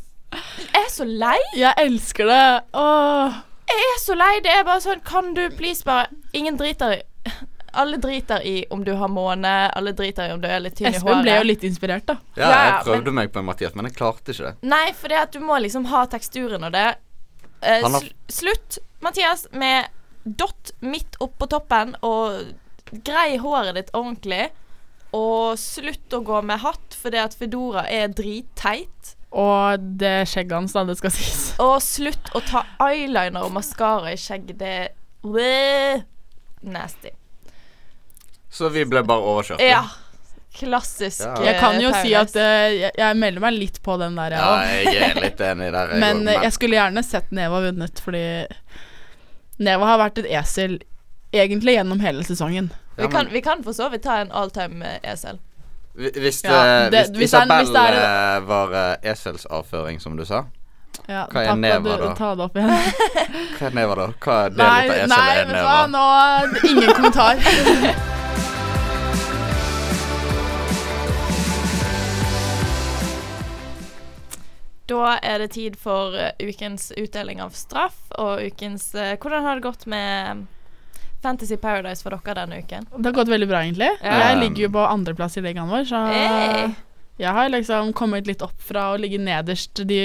[SPEAKER 4] Jeg er så lei.
[SPEAKER 6] *laughs* Jeg elsker det. Åh.
[SPEAKER 4] Jeg er så lei. Det er bare sånn Kan du please bare Ingen driter i Alle driter i om du har måne, alle driter i om du er litt tynn i håret.
[SPEAKER 6] Espen ble jo litt inspirert, da.
[SPEAKER 5] ja, jeg
[SPEAKER 4] Ja,
[SPEAKER 5] prøvde meg på en Mathias, men jeg klarte ikke det.
[SPEAKER 4] Nei, for det at du må liksom ha teksturen og det. Eh,
[SPEAKER 5] Han har-
[SPEAKER 4] sl slutt, Mathias, med dott midt oppå toppen, og grei håret ditt ordentlig. Og slutt å gå med hatt, for det at Fedora er dritteit.
[SPEAKER 6] Og det skjegget hans, da, det skal sies.
[SPEAKER 4] Og slutt å ta eyeliner og maskara i skjegget. Det er Bleh. nasty.
[SPEAKER 5] Så vi ble bare overkjørt.
[SPEAKER 4] Ja. Klassisk.
[SPEAKER 5] Ja.
[SPEAKER 4] eh,
[SPEAKER 6] Jeg kan jo si
[SPEAKER 4] Paradise.
[SPEAKER 6] at eh, jeg, jeg melder meg litt på den der,
[SPEAKER 5] Ja,
[SPEAKER 6] jeg òg.
[SPEAKER 5] jeg er litt enig der. jeg
[SPEAKER 6] Men
[SPEAKER 5] går-
[SPEAKER 6] eh, jeg skulle gjerne sett Neva vunnet, fordi Neva har vært et esel egentlig gjennom hele sesongen.
[SPEAKER 5] Ja,
[SPEAKER 4] vi,
[SPEAKER 5] men
[SPEAKER 4] kan, vi kan for så vidt ta en eh, E alltime-esel.
[SPEAKER 5] hvi- hvis,
[SPEAKER 6] Ja,
[SPEAKER 5] eh,
[SPEAKER 6] det-
[SPEAKER 5] hvis,
[SPEAKER 6] hvis det er-
[SPEAKER 5] Isabel
[SPEAKER 6] hvis det
[SPEAKER 5] eh, var eh, eselsavføring, som du sa
[SPEAKER 6] Ja,
[SPEAKER 5] Hva er
[SPEAKER 6] takk for at
[SPEAKER 5] Neva,
[SPEAKER 6] du-
[SPEAKER 5] da?
[SPEAKER 6] Ta det opp igjen.
[SPEAKER 5] Hva er neva, da? Hva er det
[SPEAKER 6] Nei,
[SPEAKER 5] litt av esel
[SPEAKER 6] nei,
[SPEAKER 5] er
[SPEAKER 6] vet du hva,
[SPEAKER 5] neva?
[SPEAKER 6] nå Ingen kommentar. *laughs*
[SPEAKER 4] Da er det tid for eh, ukens utdeling av straff og ukens eh, Hvordan har det gått med eh, Fantasy Paradise for dere denne uken?
[SPEAKER 6] Det har gått veldig bra, egentlig.
[SPEAKER 4] Ja.
[SPEAKER 6] Jeg ligger jo på andreplass i ligaen vår, så
[SPEAKER 4] Hey!
[SPEAKER 6] jeg har liksom kommet litt opp fra å ligge nederst de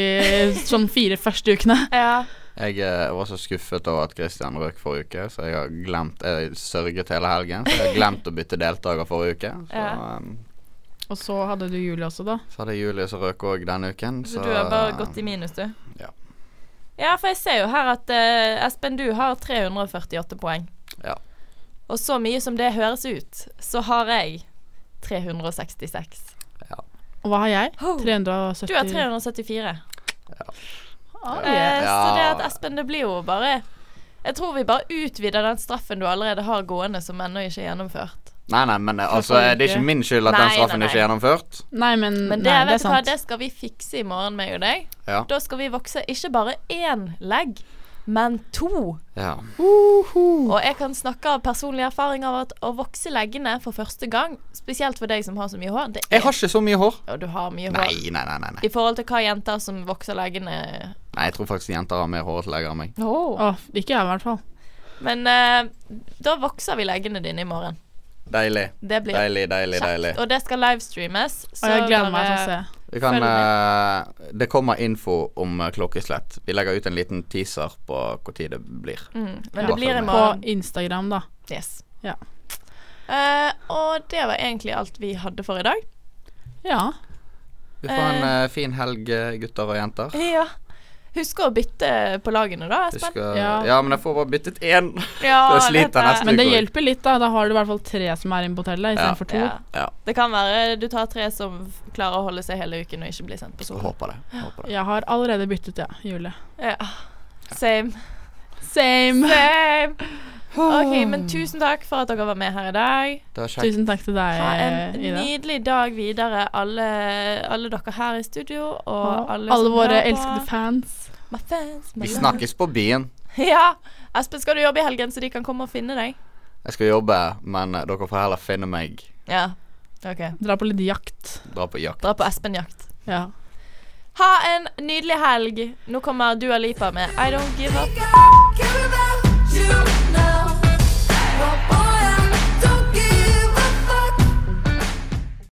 [SPEAKER 6] sånn fire første ukene.
[SPEAKER 4] Ja.
[SPEAKER 5] Jeg eh, var så skuffet over at Christian røk forrige uke, så jeg har glemt Jeg sørget hele helgen, så jeg har glemt å bytte deltaker forrige uke. Så,
[SPEAKER 4] Ja.
[SPEAKER 5] eh,
[SPEAKER 6] Og så hadde du Julie også, da.
[SPEAKER 5] så hadde Julie som røk òg denne uken,
[SPEAKER 4] Så
[SPEAKER 5] så, ehm,
[SPEAKER 4] du har bare gått i minus, du?
[SPEAKER 5] ja.
[SPEAKER 4] Ja, for jeg ser jo her at eh, Espen, du har 348 poeng.
[SPEAKER 5] Ja.
[SPEAKER 4] Og så mye som det høres ut, så har jeg 366.
[SPEAKER 6] Og hva har jeg?
[SPEAKER 4] Oh.
[SPEAKER 6] 370.
[SPEAKER 4] Du har 374.
[SPEAKER 6] Ah,
[SPEAKER 4] Eh,
[SPEAKER 6] yes.
[SPEAKER 4] Så det at
[SPEAKER 5] Ja.
[SPEAKER 4] Espen, det blir jo bare Jeg tror vi bare utvider den straffen du allerede har gående, som ennå ikke er gjennomført.
[SPEAKER 5] Nei, nei, men eh, altså,
[SPEAKER 6] forrige
[SPEAKER 5] det er
[SPEAKER 6] uke.
[SPEAKER 5] ikke min skyld at
[SPEAKER 4] Nei,
[SPEAKER 5] den
[SPEAKER 4] nei,
[SPEAKER 5] straffen ikke er
[SPEAKER 4] nei.
[SPEAKER 5] gjennomført.
[SPEAKER 6] Nei, men,
[SPEAKER 4] Men det,
[SPEAKER 6] nei, det er
[SPEAKER 4] vet du hva,
[SPEAKER 6] sant.
[SPEAKER 4] det skal vi fikse i morgen, meg og deg.
[SPEAKER 5] Ja.
[SPEAKER 4] Da skal vi vokse ikke bare én legg, men to.
[SPEAKER 5] Ja.
[SPEAKER 4] Og jeg kan snakke av personlig erfaring av at å vokse leggene for første gang, spesielt for deg som har så mye hår det er,
[SPEAKER 5] Jeg har ikke så mye hår.
[SPEAKER 4] Og du har mye
[SPEAKER 5] Nei,
[SPEAKER 4] hår.
[SPEAKER 5] nei, nei. nei, nei.
[SPEAKER 4] I forhold til hva jenter som vokser leggene
[SPEAKER 5] nei Jeg tror faktisk jenter har mer hårete legger enn meg.
[SPEAKER 4] oh.
[SPEAKER 6] Åh, ikke jeg, i hvert fall.
[SPEAKER 4] Men eh, da vokser vi leggene dine i morgen.
[SPEAKER 5] Deilig.
[SPEAKER 4] Det blir
[SPEAKER 5] Deilig, deilig, deilig.
[SPEAKER 4] Og det skal livestreames.
[SPEAKER 6] Og jeg gleder meg til å
[SPEAKER 4] bare-
[SPEAKER 6] se.
[SPEAKER 5] Vi kan,
[SPEAKER 4] Følg
[SPEAKER 5] eh, det kommer info om eh, klokkeslett. Vi legger ut en liten teaser på når det blir.
[SPEAKER 4] Mm, men
[SPEAKER 5] Ja.
[SPEAKER 4] det blir i
[SPEAKER 6] På
[SPEAKER 4] morgen.
[SPEAKER 6] Instagram, da.
[SPEAKER 4] Yes.
[SPEAKER 6] Ja.
[SPEAKER 4] Eh, og det var egentlig alt vi hadde for i dag.
[SPEAKER 6] Ja.
[SPEAKER 5] Vi får en eh, fin helg, eh, gutter og jenter.
[SPEAKER 4] Ja. Husk å bytte på lagene, da,
[SPEAKER 5] Du
[SPEAKER 4] Espen.
[SPEAKER 5] skal,
[SPEAKER 6] Ja.
[SPEAKER 5] ja, men jeg får bare byttet én. *laughs*
[SPEAKER 4] Ja,
[SPEAKER 5] Jeg sliter
[SPEAKER 4] dette-
[SPEAKER 5] nesten.
[SPEAKER 6] Men det
[SPEAKER 5] går.
[SPEAKER 6] hjelper litt, da. Da har du i hvert fall tre som er inne på hotellet, istedenfor to.
[SPEAKER 4] Ja.
[SPEAKER 5] Ja.
[SPEAKER 4] Det kan være du tar tre som f- klarer å holde seg hele uken og ikke blir sendt på solo.
[SPEAKER 5] Håper det. Håper det.
[SPEAKER 6] Jeg har allerede byttet, ja. Julie.
[SPEAKER 4] Ja. Same.
[SPEAKER 6] Same! *laughs*
[SPEAKER 4] Same. OK, men tusen takk for at dere var med her i dag.
[SPEAKER 5] Det var kjekt.
[SPEAKER 6] Tusen takk til deg,
[SPEAKER 4] Ha en
[SPEAKER 6] Ida.
[SPEAKER 4] nydelig dag videre, alle, alle dere her i studio, og
[SPEAKER 6] Og
[SPEAKER 4] alle,
[SPEAKER 6] alle
[SPEAKER 4] som
[SPEAKER 6] våre
[SPEAKER 4] hører på.
[SPEAKER 6] elskede fans.
[SPEAKER 4] My fans, my
[SPEAKER 5] Vi
[SPEAKER 4] love.
[SPEAKER 5] snakkes på byen.
[SPEAKER 4] *laughs* Ja. Espen, skal du jobbe i helgen, så de kan komme og finne deg?
[SPEAKER 5] Jeg skal jobbe, men eh, dere får heller finne meg.
[SPEAKER 4] Ja. OK.
[SPEAKER 6] Dra på litt jakt.
[SPEAKER 5] Dra på jakt.
[SPEAKER 4] Dra på Espen-jakt.
[SPEAKER 6] Ja.
[SPEAKER 4] Ha en nydelig helg. Nå kommer Dua Lipa med I Don't Give Up.
[SPEAKER 10] Give it up, you know